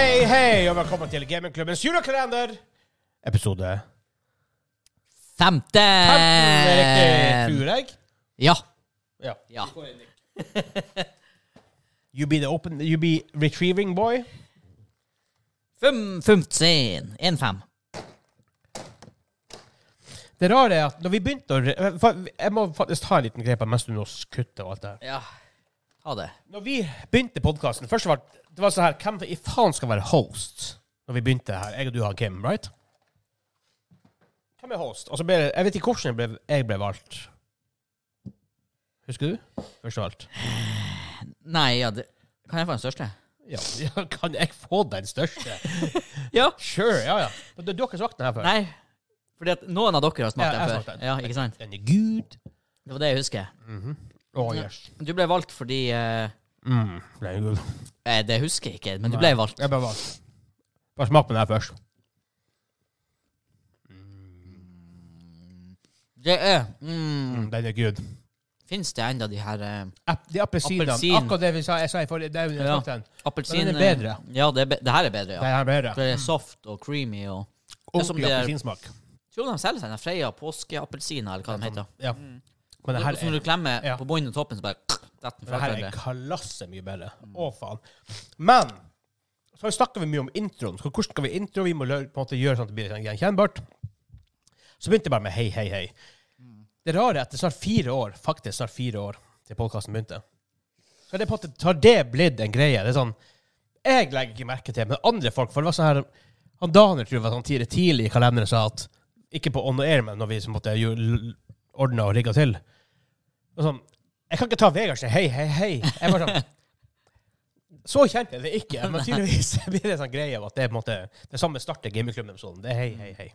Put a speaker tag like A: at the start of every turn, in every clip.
A: Hei og velkommen til Gamingklubbens julekalender, episode
B: 15!
A: 15, er riktig, tror jeg.
B: Ja.
A: Ja.
B: ja.
A: You be the open, you be retrieving boy.
B: Fem- 15. 1-5.
A: Det rare er at når vi begynte å re- for- Jeg må faktisk ta en liten grep her mens du nå kutter og alt det her.
B: Ja. Ha det.
A: Når vi begynte podkasten Først var det- det var sånn her Hvem i faen skal være host når vi begynte her? Jeg og du har Kim, right? Hvem er host? Og så ble det Jeg vet ikke hvordan jeg ble, jeg ble valgt. Husker du? Først av alt.
B: Nei, ja, det Kan jeg få den største?
A: Ja, ja, kan jeg få den største?
B: Ja.
A: Sure, ja, ja. Men du, du har ikke smakt den her før?
B: Nei. Fordi at noen av dere har
A: Ja,
B: smakt
A: jeg har
B: den
A: smakt
B: før.
A: den.
B: Ja, ikke sant?
A: Den er gud.
B: Det var det jeg husker.
A: Å, yes.
B: Du ble valgt fordi eh,
A: Mm, den er god.
B: eh, Det husker jeg ikke, men du ble valgt.
A: Jeg bare bare, bare smak på den her først.
B: Det er mm,
A: Mm, den er gud.
B: Fins det enda de her eh,
A: App, de appelsinene.
B: Appelsin.
A: Akkurat det vi sa, jeg sa i forrige. Det er,
B: Ja.
A: ja. den.
B: appelsin...
A: Men den er bedre.
B: Ja, det, er be det her er bedre,
A: Det
B: ja.
A: er bedre.
B: Det er soft og creamy og er som
A: Ordentlig
B: det er-
A: appelsinsmak.
B: Tror du de selger seg den Freia påskeappelsiner, eller hva de heter?
A: Ja. Men det her
B: Som
A: er,
B: du klemmer
A: ja.
B: på bunnen og toppen, så bare detter den
A: det
B: fra
A: her
B: hverandre.
A: er klasse mye bedre. Å, faen. Men så snakker vi mye om introen. Så hvordan skal vi intro? Vi må lø- på en måte gjøre sånn at det blir gjenkjennbart. Så begynte jeg bare med hei, hei, hei. Det rare er at det snart fire år, faktisk snart fire år, til podkasten begynte. Så det er på en måte, har det blitt en greie? Det er sånn, Jeg legger ikke merke til men andre folk For det var sånn her Han Daniel tror jeg var sånn tidlig, tidlig i kalenderen sa at Ikke på on air, men når vi så måtte ordne og rigge til. Og sånn, jeg kan ikke ta Vegard sin hei, hei, hei. Jeg bare sånn, så kjent er det ikke, men tydeligvis blir det en sånn greie av at det er på en måte det samme starter gamingklubben-episoden. Det er hei, hei, hei.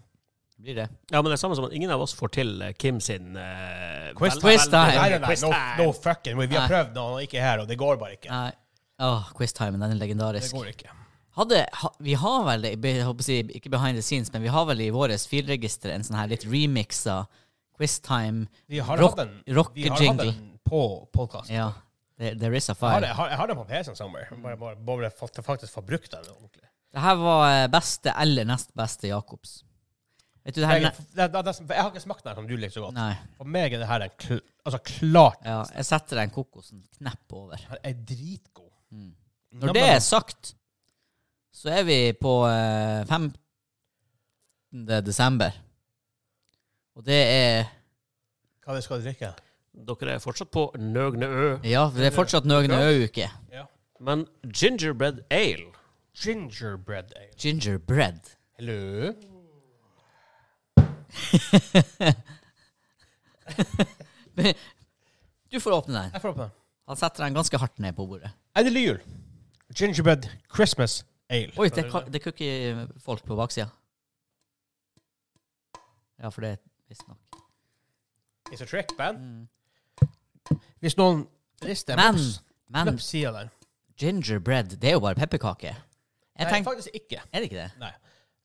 B: Blir det.
C: Ja, men det er samme som at ingen av oss får til eh, Kim sin eh,
A: Quiz
C: vel-
B: Quiz
C: veldig-
B: time.
A: Nei, nei, nei,
C: quiz
A: no,
C: time.
A: no fucking way. Vi har
B: Nei.
A: prøvd når han ikke er her, og det går bare ikke.
B: Nei. Åh, quiztimen, den er
A: Det
B: legendarisk.
A: går ikke.
B: Hadde, ha, vi har vel, i be- jeg håper å si, ikke behind the scenes, men vi har vel i vårt filregister en sånn her litt remixa quiztime.
A: Vi har
B: Rock-
A: hatt den, vi har hatt
B: rockejingle.
A: den på podkasten.
B: Ja, there, there is a
A: Jeg, har-
B: file.
A: jeg, har- jeg har den på PC-en somewhere. Bare, bare, bare fa- faktisk få brukt den ordentlig.
B: Det her var eh, beste eller nest beste Jacobs. Vet du det her?
A: Jeg, det, det, det, jeg har ikke smakt den som du liker så
B: ne-
A: godt.
B: Nei.
A: For meg er det her en kl, altså klart
B: Ja, jeg setter den kokosen knepp over.
A: Den er dritgod.
B: Mm. Når det er sagt, så er vi på eh, 15. desember. Og det er
A: Hva det skal du drikke?
C: Dere er fortsatt på Nøgne Ø,
B: Ja, det er fortsatt Nøgne Ø-uke.
A: Ja.
C: men Gingerbread Ale
A: Gingerbread ale.
B: Gingerbread.
A: Hello.
B: Du får åpne den.
A: Jeg får opp den.
B: Han setter den ganske hardt ned på bordet.
A: Endelig jul. Gingerbread Christmas ale.
B: Oi, det, ka- det kukker folk på baksida. Ja, for det er visstnok
A: It's a trick, man. Mm. Hvis noen rister
B: Men,
A: løps-
B: men
A: løps siden der.
B: gingerbread, det er jo bare pepperkake. Jeg
A: Nei,
B: tenker,
A: faktisk ikke.
B: Er det ikke det?
A: Nei.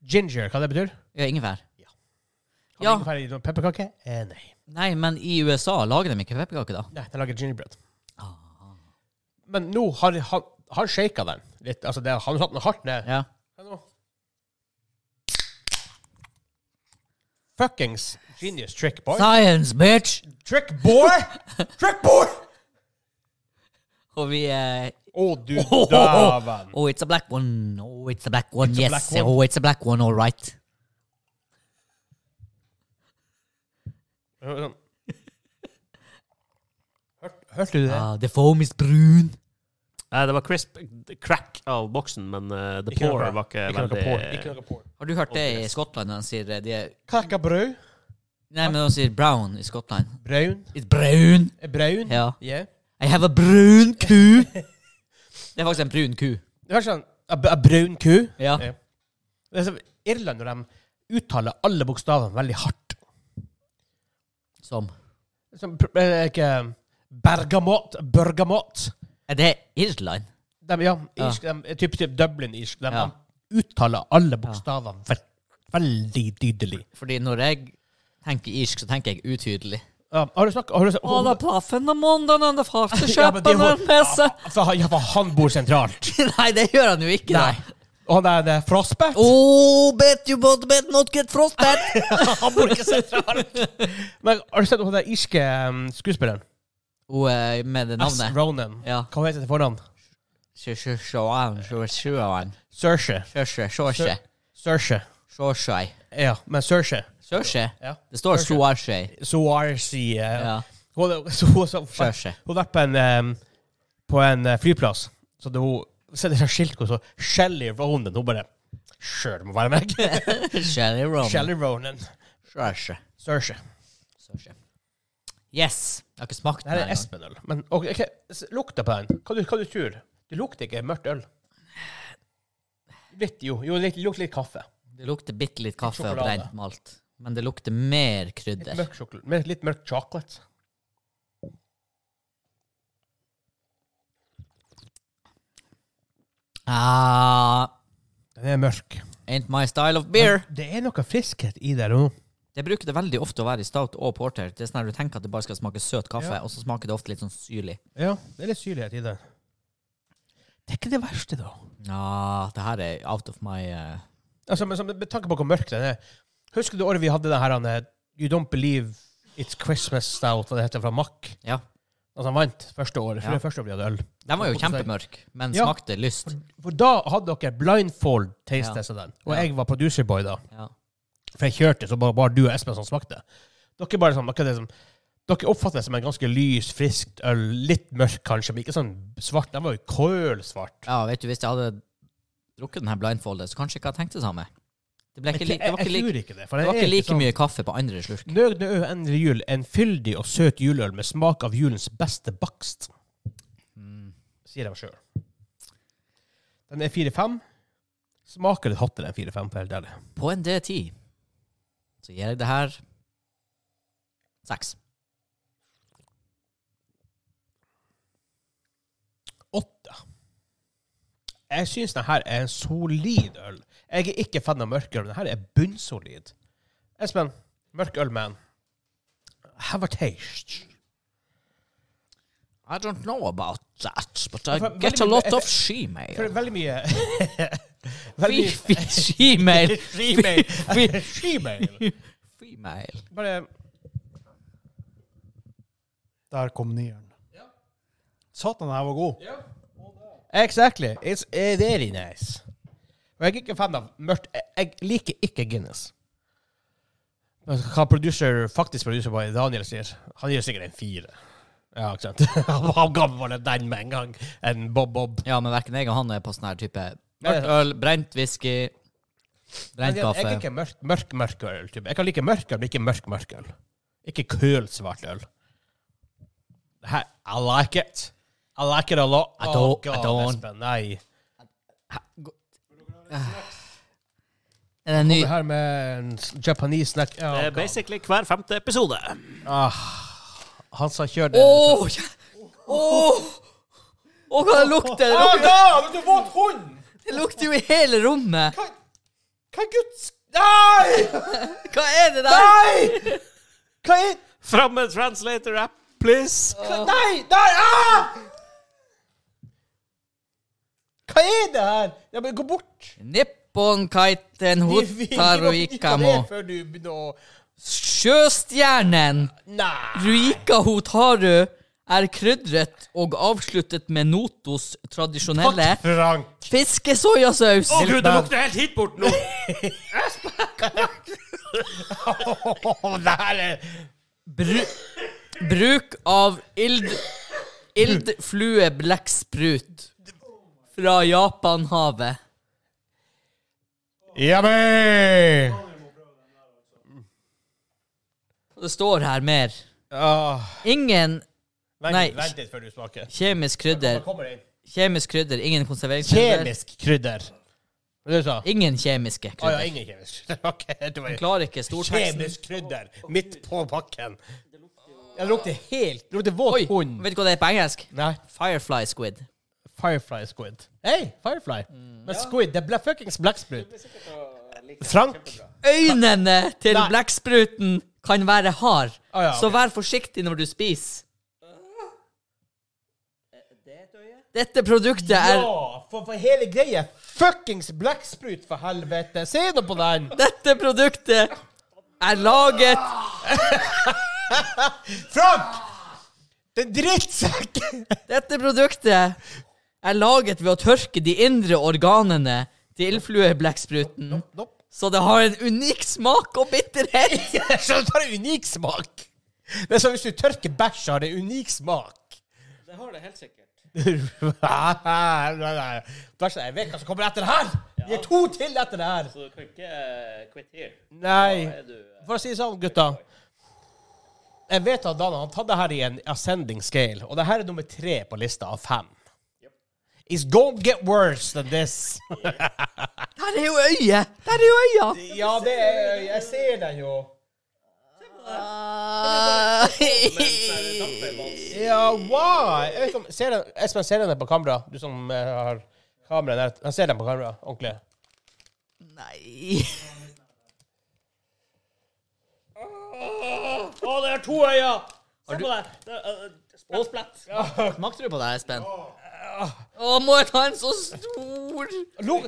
A: Ginger, hva det betyr?
B: Ja, ingefær.
A: Ja. Har
B: Ja,
A: vi ikke ferdig noen pepperkake? Eh, nei.
B: nei, men i USA lager de ikke pepperkake, da.
A: Nei, de lager gingerbread.
B: Ah.
A: Men nå har han, han shaka den litt. Altså, det, han satt den hardt ned.
B: Ja.
A: Nå. Fuckings genius trick, boy.
B: Science, bitch!
A: Trick, boy! Trick, boy!
B: Og vi eh,
A: Å, du dæven.
B: Oh, it's a black one. Oh, it's a black one.
A: It's a
B: yes.
A: black one.
B: Oh, it's a black one. All right.
A: Sånn. Hørt, hørte du det?
B: Ah, the foam is brun.
C: Eh, Det var crisp crack av boksen, men eh, the
A: Ikke noe
C: pour
A: bra.
C: var ikke
A: Ikke noe
C: veldig
A: porn, Ikke noe porn.
B: Har du hørt det i Skottland når de sier eh, de er
A: Kakabrød.
B: Nei, men de sier brown i Skottland.
A: Braun.
B: It's brown.
A: Eh, Braun.
B: Ja.
A: Yeah.
B: I have a brun ku. det er faktisk en brun ku.
A: Det var sånn a, a braun ku.
B: Ja.
A: Ja. Det er så, Irland, når de uttaler alle bokstavene veldig hardt
B: Som.
A: Som pr- eh, ikke Bergamot. Bergamot.
B: Er det Irland?
A: De, ja,
B: Ja.
A: irsk, de, typ, typ Dublin-irsk. De,
B: Ja.
A: de uttaler alle bokstavene ve veldig tydelig.
B: Fordi når jeg tenker irsk, så tenker jeg utydelig.
A: Ja, har du snakket har du,
B: plaffen om måneden, det farte
A: Ja, men det er jo- ja, for han- ja, for han bor sentralt.
B: Nei, det gjør han jo ikke, da.
A: Nei. Og han der det er Frostback
B: Oh, bet you bought bet not get frostbite!
A: Han bor ikke sentralt! Men har du sett hun der irske um, skuespilleren?
B: Hun eh, med det
A: S.
B: navnet.
A: Ronan.
B: Ja.
A: Hva heter hun til fornavn?
B: Sjø- sjø- sjøan, sjø- sjøan.
A: Saoirse.
B: Sjøsjø, sjåsjø.
A: Saoirse.
B: Sjåsjø.
A: Ja, men Saoirse.
B: Sjøsjø?
A: Ja.
B: Det står
A: Sjøsjø.
B: sjåsjø.
A: Saoirse. eh,
B: Ja.
A: Hun hadde- så hun- så-
B: Sjøsjø.
A: hun hadde vært på en, em, på en eh, flyplass, så det hun så det er sånn skilt hvor det står Shelly Ronan. Hun bare Sjøl, det må være meg.
B: Shelly Roman.
A: Shelly Ronan.
B: Sjøsjø.
A: Saoirse.
B: Sjøsjø. Yes. Jeg har ikke smakt
A: Det her
B: den
A: er
B: engang.
A: Espen-øl. Men ok, ok, s- lukta på den. Hva du, hva du tror? Det lukter ikke mørkt øl. Litt, jo. jo litt, lukter litt kaffe.
B: Det lukter bitte litt kaffe og
A: Sjokolade.
B: brent malt. Men det lukter mer
A: Litt
B: krydder.
A: mørk sjokolade. med Litt mørk chocolate.
B: Ah,
A: Den er mørk.
B: ain't my style of beer.
A: Det er noe friskhet i det. nå.
B: Det bruker det veldig ofte å være i stout og porter. Det er sånn at Du tenker at det bare skal smake søt kaffe,
A: Ja.
B: og så smaker det ofte litt sånn syrlig.
A: Ja, det er litt syrlighet i det. Det er ikke det verste, da.
B: Ja, Ah, det her er out of my eh,
A: Altså, men, så, med tanke på hvor mørk den er Husker du året vi hadde den her han, eh, You Don't Believe It's Christmas Stout, hva det heter, fra Mack?
B: Ja.
A: Altså, han vant første året. For
B: Ja.
A: det første året vi hadde øl.
B: Den var jo kjempemørk, men
A: Ja.
B: smakte lyst.
A: For da hadde dere blindfold
B: Ja.
A: taste test av den. Og
B: Ja.
A: jeg var producerboy da.
B: Ja.
A: For jeg kjørte, så bare, bare du og Espen som smakte. Dere bare sånn, dere, det som, dere oppfatter det som en ganske lys, friskt øl. Litt mørk kanskje, men ikke sånn svart. Den var jo kølsvart.
B: ja, vet du, hvis jeg hadde drukket den her blindfoldet, så kanskje jeg ikke hadde tenkt det samme. Det, ble
A: Jeg,
B: ikke
A: jeg,
B: li det var ikke, like-
A: tror ikke det. For
B: det
A: den
B: var ikke
A: er
B: like
A: sånn-
B: mye kaffe på andre slurk.
A: Nøgne ø endelig jul, en fyldig og søt juleøl med smak av julens beste bakst,
B: Mm.
A: sier de sjøl. Den er 4-5. Smaker litt hottere enn 4-5, for helt ærlig.
B: På en D10 så gir jeg det her seks.
A: 8. Jeg syns den her er en solid øl. Jeg er ikke fan av mørk øl, men den her er bunnsolid. Espen, mørk øl, man. Have a taste.
B: I don't know about that, but
A: Ja,
B: I
A: for
B: get
A: veldig
B: a
A: mye-
B: lot
A: jeg-
B: of shemale.
A: For veldig mye
B: Fy- fy- Shemale.
A: Female. Female.
B: Female.
A: Bare
D: Der kom nieren. Satan, den her var god.
A: Exactly. It's eh, very nice. Og jeg er ikke fan av mørkt. Jeg- Jeg liker ikke Guinness. Men hva producer, faktisk producer bare Daniel sier, han gir sikkert en fire. Ja, ikke sant? han ga meg bare den med en gang. En Bob Bob.
B: Ja, men hverken jeg og han er på sånn her type
A: Nei,
B: mørkt
A: det-
B: øl, brent whisky,
A: Jeg,
B: brent
A: jeg
B: kaffe.
A: er ikke mørk, mørk, mørk øl. Typ. Jeg kan like mørk øl, men ikke mørk, mørk øl. Ikke kølsvart øl. Det her, I like it. I like it a lot.
B: I don't-
A: Å,
B: I
A: God,
B: don't.
A: Espen, nei.
B: Er det en ny
A: Det her med en Japanese snack. Ja,
C: Det er
A: God.
C: basically hver femte episode.
A: Han sa kjør det.
B: Åh! Åh! Åh, hva det lukter! Det lukter,
A: Adam, du våt hund!
B: det lukter jo i hele rommet!
A: Hva guds Nei!
B: Hva er det der?
A: Nei! Hva er
C: Fram med translator-app, please!
A: hva- Nei! Nei! Ah! Hva er det her? Ja, men gå bort.
B: Nippon kaiten
A: Vi- vi- vi må
B: hotaro
A: finne ut av
B: ikamo.
A: det Før du begynner å
B: Sjøstjernen
A: Nei!
B: ruika hotaru er krydret og avsluttet med Notos tradisjonelle
A: Frank.
B: fiskesoyasaus.
C: Å gud, det lukter helt hit bort nå!
A: det her er
B: Bru bruk av ild ildflueblekksprut fra Japanhavet.
A: Jammen!
B: Og Det står her mer.
A: Ah,
B: Ingen
A: vent,
B: Nei.
A: vent litt før du smaker.
B: kjemisk
A: Nå
B: krydder.
A: kommer det inn.
B: Kjemisk krydder, ingen konserveringskrydder.
A: Kjemisk krydder. Hva du sa
B: Ingen kjemiske
A: Å ja,
B: krydder.
A: ingen kjemisk. Ok, du var
B: Klarer ikke storteksten.
A: Kjemisk krydder midt på pakken. Ja, det lukter helt Det lukter våt
B: Oi,
A: hund.
B: vet du hva det er på engelsk?
A: Nei,
B: Firefly squid.
A: Firefly squid. Hei, Firefly.
B: Mm.
A: Men squid, det er fuckings blekksprut. Frank.
B: Øynene til
A: Nei.
B: blekkspruten kan være hard,
A: Å ja,
B: så
A: ok.
B: vær forsiktig når du spiser. Dette produktet er
A: Ja, for, for hele greia er fuckings blekksprut, for helvete! Se nå på den!
B: Dette produktet er laget
A: Frank! Den drittsekken!
B: Dette produktet er laget ved å tørke de indre organene til flueblekkspruten.
A: Nope.
B: Så det har en unik smak og bitterhet.
A: Så det har en unik smak. Det er som hvis du tørker bæsj, så har det unik smak.
B: Det har det helt sikkert.
A: Bæsj er vekka som kommer etter det her! Vi er to til etter det her.
E: Så du kan ikke eh, quit here.
A: Nei.
E: Er du
A: For å si det sånn, gutta. Jeg vet at Dan han tatt det her i en ascending scale, og det her er nummer tre på lista av fem. It's gonna get worse than this.
B: Der er jo øyet! Der er jo øya!
A: ja, det er Jeg ser den jo. Ja, wow! Jeg vet ikke om, ser den, Espen, ser den på kamera? Du som eh, har kamera der. Han ser den på kamera, ordentlig.
B: Nei
E: Å, det er to øyne! Se på deg. Det er, uh, Splatt, splatt.
B: Smakte du på det, Espen? Å, må jeg ta en så stor
A: Luk,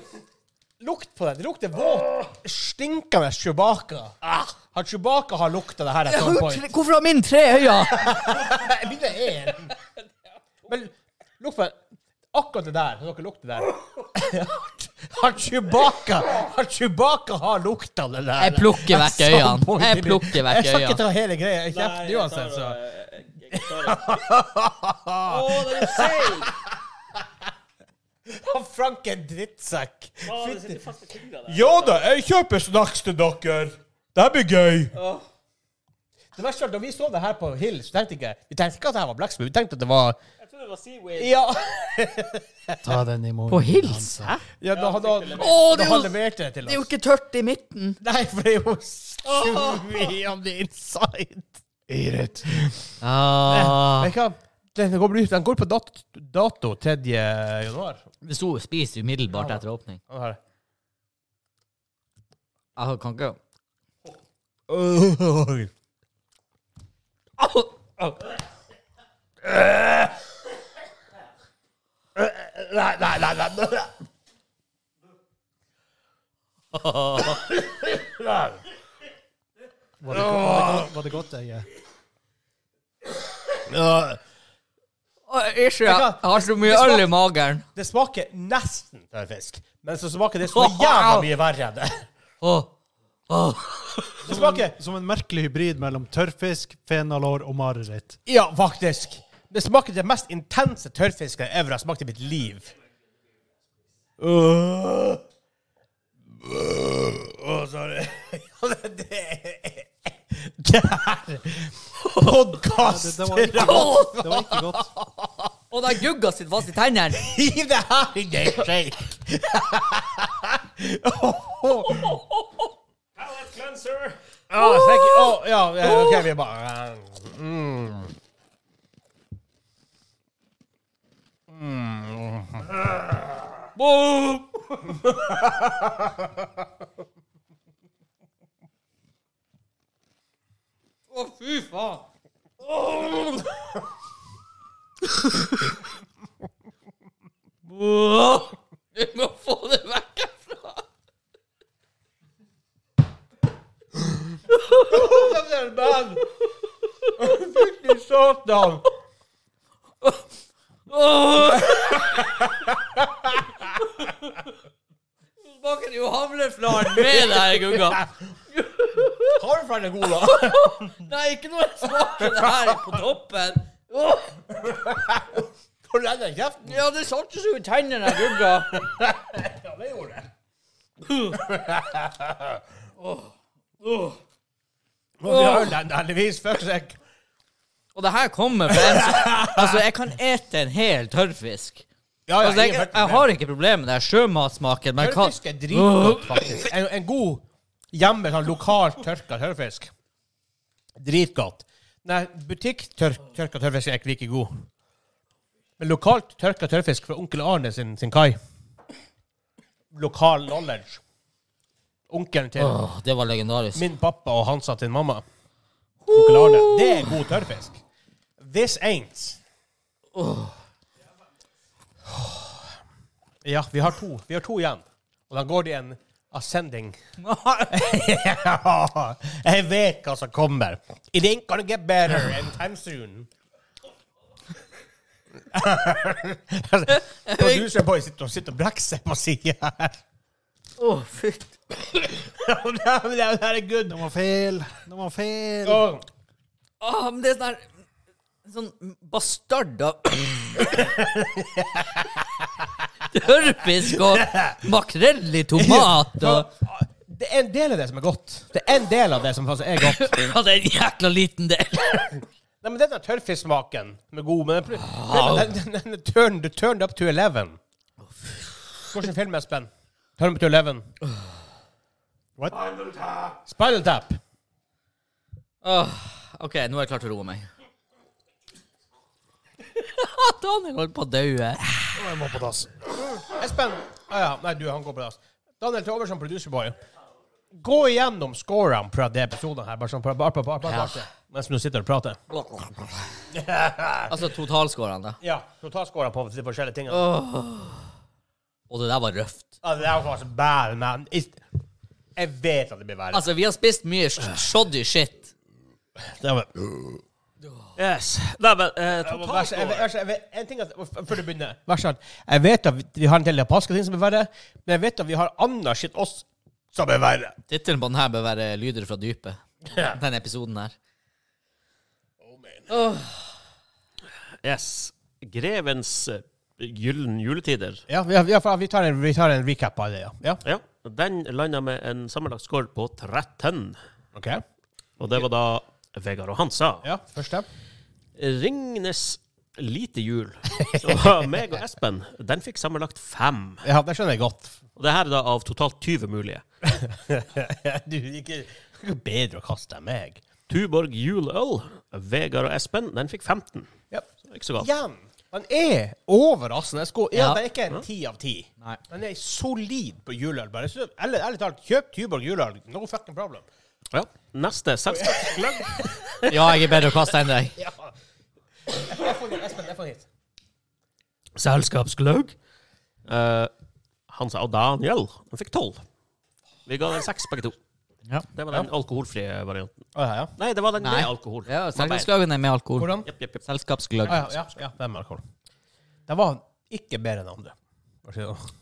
A: lukt på det. Det lukter våt, stinkende Chewbacca. Har Chewbacca har lukta det her? at noen point?
B: Hvorfor har min tre øyne?
A: Jeg begynte én. Men lukt på akkurat det der. Har dere lukter der? Har Chewbacca Har Chewbacca har lukta det der?
B: Jeg plukker vekk øynene.
A: Samboer.
B: Jeg plukker vekk
A: Jeg skal ikke
B: øynene.
A: ta hele greia i
E: Nei,
A: kjeften
E: jeg
A: uansett, så
E: tar, uh, jeg- jeg tar det. Å, det er seig!
A: Han Frank er en drittsekk.
E: Å, det sitter fast i fingrene. der.
A: Ja da, jeg kjøper snacks til dere. Det her blir gøy.
E: Åh.
A: Det verste var at når vi så det her på Hill, så tenkte jeg Vi tenkte ikke at det her var Blacksmith, vi tenkte at det var
E: Jeg tror det var seaweed.
A: Ja,
D: Ta den i morgen.
B: På hils?
D: Hansa.
B: Hæ?
A: ja da, da, da,
B: Å, det er
A: han
B: jo-
A: leverte det til
B: det er jo
A: oss.
B: ikke tørt i midten.
A: Nei, for det er jo chewy on the inside.
D: Eat it.
B: Ah.
A: Vet du hva? Den går, blir- den går på dato, dato 3. januar.
B: Det sto 'spis umiddelbart etter åpning'.
A: Den her.
B: Jeg kan ikke
A: Nei, nei, nei, nei. nei.
D: Var det, go- var, det, go- var det godt, øye?
A: Ja.
B: Å, Ikke jeg har så mye øl i magen.
A: Det smaker nesten tørrfisk, men så smaker det så jævla mye verre enn det.
B: Åh. Åh.
A: Det smaker
D: Som en merkelig hybrid mellom tørrfisk, fenalår og mareritt.
A: Ja, faktisk. Det smaker det mest intense tørrfisket jeg ever har smakt i mitt liv. Øh. Øh. Å, sorry. Ja, det- det er Det her
D: Det,
A: Podkast!
D: det, var ikke,
B: Åh.
D: det var ikke godt.
B: Og den gugga sitter fast i tennene.
A: Hiv det her i deg, shake! Oh.
E: Palate cleanser.
A: Å, Oh, thank you. Å, ja, ja, OK, vi er bare mm.
B: Å, fy faen. Vi må få det vekk herfra.
A: Men Oh, Fytti satan!
B: Åh. Nå smaker det jo havleflaren med deg, Gugga.
A: Har du flere gode?
B: Nei, ikke noe smaker det her på toppen. Åh.
A: Har du ennå kjeften?
B: Ja, det satte seg jo i tennene, Gugga.
A: Ja, det gjorde jeg. Nå blir jeg ølen heldigvis fucksekk.
B: Og det her kommer fra en som Altså, jeg kan ete en hel tørrfisk.
A: Ja,
B: Altså, jeg, jeg har ikke problem med det her sjømatsmaken, men hva
A: Tørrfisk er dritgodt, faktisk. En, en god hjemme, sånn lokalt tørka tørrfisk. Dritgodt. Nei, butikktørka tørrfisk er ikke like god. Men lokalt tørka tørrfisk fra onkel Arne sin, sin kai. Lokal knowledge. Onkelen til
B: Åh, det var legendarisk.
A: min pappa og Hansa til mamma. Onkel Arne. Det er god tørrfisk. This ain't. Ja, vi har to. Vi har to igjen. Og da går det i en ascending. ja, jeg vet hva som kommer. It ain't gonna get better anytime soon. Producer boy sitter og, sitter og brekker seg på sida her.
B: Å, fytt.
A: Det her- det her er good.
D: De var feil. De var feil.
A: Åh,
B: Åh, men det er sånn her Sånn bastard av Tørrfisk og makrell i tomat og
A: Det er en del av det som er godt. Det er en del av det som faktisk er godt.
B: Ja, Altså, det er en jækla liten del.
A: Nei, men Den tørrfisksmaken som er god, men den, den, den, den, den turned, turned up to 11. Hvilken film er Espen? Turned up to 11. What? Spinal Tap.
B: Åh, OK, nå er jeg klar til å roe meg. Daniel holdt på å daue.
D: Jeg må på dass.
A: Espen ah, ja. Nei, du, han går på dass. Daniel, til over som producerboy. Gå igjennom scorene fra de episodene her, bare sånn bare, bare, bare, bare, bare, mens du sitter og prater.
B: Altså totalscorene, da.
A: Ja, så ta scorene på de forskjellige tingene.
B: Og det der var røft.
A: Ja, det der var så bad, man. Ist- Jeg vet at det blir verre.
B: Altså, vi har spist mye sh- shoddy shit.
A: Altså, Det var-
C: Yes. Nei, men eh,
A: Ja, men vær så- jeg-
C: totalt
A: vær så- jeg vet- En ting at, f- Før du begynner vær så snill. Jeg vet at vi- vi har en del japanske ting som er verre, men jeg vet at vi har annen shit også som er verre.
B: Tittelen på den her bør være 'Lyder fra dypet'. Den episoden her.
C: Yes. Grevens eh, gyllen juletider.
A: Ja, vi, har- vi, har- vi, tar, en, vi tar en recap av det, ja. ja.
C: Ja. Den landa med en sammenlagt score på 13.
A: Ok.
C: Og det var da Vegard og Hansa.
A: Ja, første.
C: Ringnes lite jul. Så meg og Espen, den fikk sammenlagt fem.
A: Ja, det skjønner jeg godt.
C: Og det her er da av totalt 20 mulige.
A: du er ikke, ikke bedre å kaste enn meg.
C: Tuborg juleøl, Vegard og Espen, den fikk 15.
A: Ja.
C: Så Ikke så galt.
A: Igjen. Den er overraskende. sko- Ja,
B: Ja.
A: Den er ikke en ti av ti.
B: Nei.
A: Den er solid på juleøl. bare. Så- Ærlig ærlig talt, kjøp Tuborg juleøl. No fucking problem.
C: Ja. Neste selskapsgløgg.
B: Ja, jeg er bedre å kaste enn deg.
A: Ja. Jeg får den, Espen. Jeg får den hit.
C: Selskapsgløgg. Eh, Hansa og Daniel, den fikk 12. Vi ga den 6 begge to.
B: Ja.
C: Det var den alkoholfrie varianten.
A: Å, ja, ja.
C: Nei, det var den
B: Nei.
C: med alkohol.
B: Ja,
C: Den var bedre.
B: Selskapsgløggen er med alkohol.
A: Hvordan?
C: Jepp, jepp, jepp.
B: Selskapsgløgg.
A: Ah, ja, ja, ja, det er med alkohol. Det var ikke bedre enn andre. Hva sier du?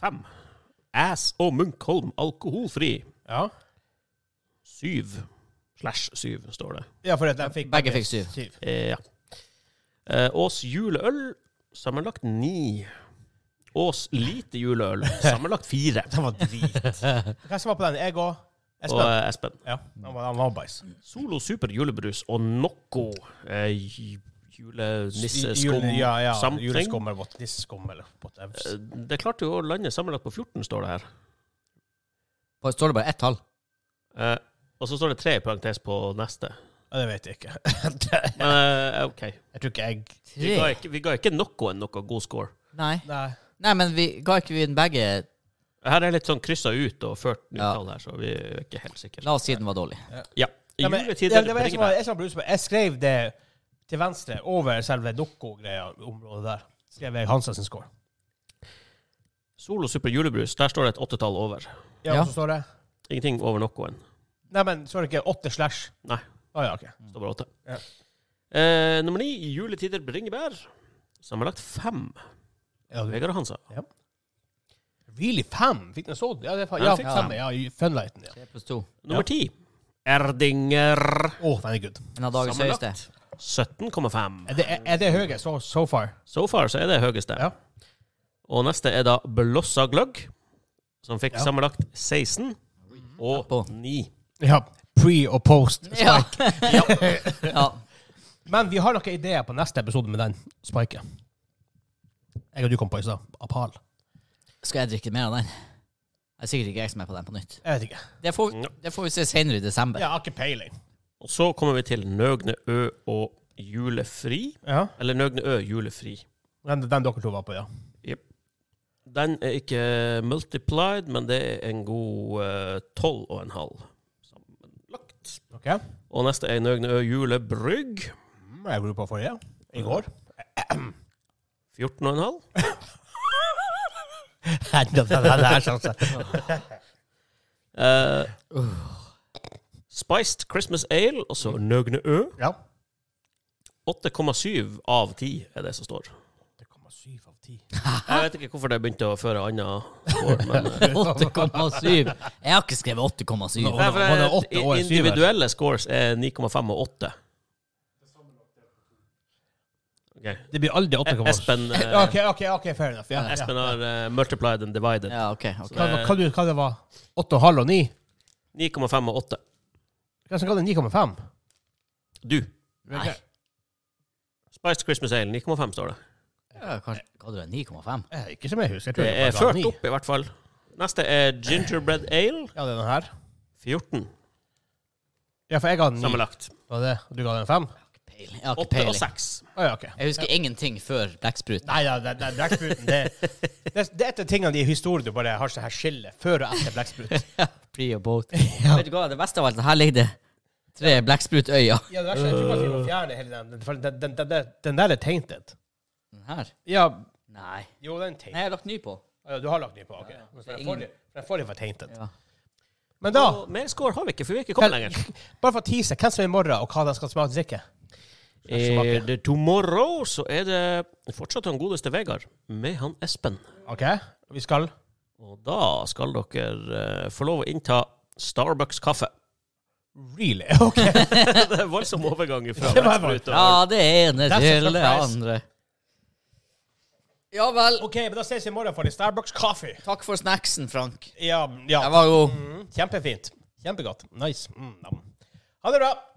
C: Fem. Ass og Munkholm alkoholfri.
A: Ja.
C: Syv. Slash syv, står det.
A: ja, for at de fikk
B: Begge fikk syv.
C: Eh, Ja. Eh, Ås juleøl, sammenlagt ni. Ås lite juleøl, sammenlagt fire.
A: Det var drit. Hvem som var på den? Jeg og
C: Og
A: Espen?
C: eh, Espen.
A: Ja, han var, han var bæsj.
C: Solo super julebrus og noe eh, ju- julenisseeskum.
A: Jule- Ja, ja.
C: something.
A: Juleskum eller what- nisseskum eller whatevs.
C: Eh, Det klarte jo å lande sammenlagt på 14, står det her.
B: Bare- Står det bare ett tall?
C: Eh, og så står det tre i parentes på neste.
A: Ja, Det vet jeg ikke. Det-
C: Eh, OK.
A: jeg tror ikke jeg
C: Vi ga
B: Tre?
C: ikke, vi ga ikke noe enn noe god score.
B: Nei.
A: Nei.
B: Nei, men vi ga ikke vi den begge
C: Her er litt sånn kryssa ut og ført
B: Ja.
C: nytall her, så vi er ikke helt sikre.
B: La oss si den var dårlig.
C: Ja.
A: Ja, men,
C: Juletider
A: ja, det var jeg,
C: bringer
A: som var, jeg, som var brus på. jeg skrev det til venstre, over selve dokko-greia, området der. Skrev jeg Hansens score.
C: Solo Super Julebrus, der står det et åttetall over.
A: Ja,
B: Ja.
A: Og så står det
C: Ingenting over noen.
A: Nei, men så er det ikke åtte slash?
C: Nei.
A: Å ja, OK.
C: Det står bare åtte.
A: Ja.
C: Eh, nummer ni, Juletider bringebær. Sammenlagt fem.
A: Ja, du-
C: Vegard og Hansa.
A: Really fem? Fikk den så? Ja, det er, fa-
C: Ja,
A: ja,
C: fikk
A: fem, ja, i Funlighten. Ja.
B: Tre pluss to.
C: Nummer ti, Erdinger.
A: Å, den er good.
B: En av dagens høyeste.
C: Sammenlagt 17,5.
A: Er det, er, er det høye so, so far?
C: So far så er det høyeste.
A: Ja.
C: Og neste er da Blossa Gløgg, som fikk
A: Ja.
C: sammenlagt 16 og
B: På.
C: 9.
A: Ja. Pre og post.
B: Ja. ja.
A: Men vi har noen ideer på neste episode med den spiken. Jeg og du kom på i stad. Apal.
B: Skal jeg drikke mer av den? Det er sikkert ikke jeg som er på den på nytt.
A: Jeg vet ikke.
B: Det får, det får vi se senere i desember.
A: Jeg har ikke peiling.
C: Og så kommer vi til Nøgne Ø og Julefri.
A: Ja.
C: Eller Nøgne Ø Julefri.
A: Den, den dere to var på, ja.
C: Jep. Den er ikke multiplied, men det er en god eh, tolv og en halv sammenlagt.
A: Ok. Mm,
C: Og neste er Nøgne Ø julebrygg.
A: Jeg var på forrige. I går.
C: 14 og en halv.
A: Nei, det er en sjanse.
C: Eh, Spiced Christmas Ale, altså Nøgne Ø.
D: Ja.
C: 8,7 av 10 er det som står.
A: 8,7 av 10.
C: Jeg vet ikke hvorfor det begynte å føre annet år, men eh,
B: 8,7. Jeg har ikke skrevet 8,7.
A: Nå.
C: nei,
A: var det
C: for
A: åtte og en syver?
C: Individuelle scores er 9,5 og 8. Ok.
A: Det blir aldri 8,7.
C: Espen, eh,
A: Ja, OK, ok, ok, fair enough. Ja, ja.
C: Espen har eh, multiplied and divided.
B: Ja, ok. ok.
A: Hva, hva, du- hva det var 8,5 og 9?
C: 9,5 og 8.
A: Hvem som ga det 9,5?
C: Du.
B: Nei.
C: Spiced Christmas Ale, 9,5 står det.
B: Ja, kanskje, hva du er 9,5?
A: Eh, Ikke som jeg husker. Jeg tror
C: Det
A: det
C: er
A: bare var
C: ført
A: 9.
C: opp, i hvert fall. Neste er Gingerbread Ale,
A: Ja, det er den her.
C: 14
A: Ja, for jeg ga den 9.
C: sammenlagt.
A: Var det? Og du ga den 5?
B: Peiling. Jeg har ikke
C: 8 og
B: peiling.
C: 6.
A: Å ja, OK.
B: Jeg husker ingenting før Blekkspruten.
A: Nei, ja, det, det, Blackspruten, det, det, det er et av tingene i historien du bare har sånn her skille før og etter Blacksprut.
B: Pre og boat. Vet du hva, det beste av alt, her ligger det tre Blekksprutøyer.
A: Ja, det verste er at jeg tror kanskje vi må fjerne hele den, for den, den, den, den, den der er tainted.
B: Den her?
A: Ja,
B: Nei.
A: jo, den er
B: Nei,
A: tainted.
B: jeg har lagt ny på.
A: Ja, du har lagt ny på, ok. Men
B: Det er
A: Den
B: ingen-
A: forrige- den forrige var tainted.
B: Ja.
A: Men da,
C: Og mer score har vi ikke, for vi har ikke
A: Kan-
C: kommet lenger.
A: bare for å tease, hvem som er i morgen, og hva de skal smake og drikke?
C: Er det tomorrow, så er det fortsatt han godeste Vegard med han Espen.
A: Ok, vi skal...
C: Og da skal dere eh, få lov å innta Starbucks-kaffe.
A: Really? Ok.
C: det er voldsom overgang fra
A: Det var vold-
C: Vestbrut og
B: Ja, det ene
A: That's a
B: til det
A: surprise.
B: andre. Ja vel.
A: Ok, men da ses vi i morgen for en Starbucks kaffe.
B: Takk for snacksen, Frank.
A: Ja, ja.
B: Jeg var god.
A: Mm, kjempefint. Kjempegodt. Nice. Mm, nam. ha det bra.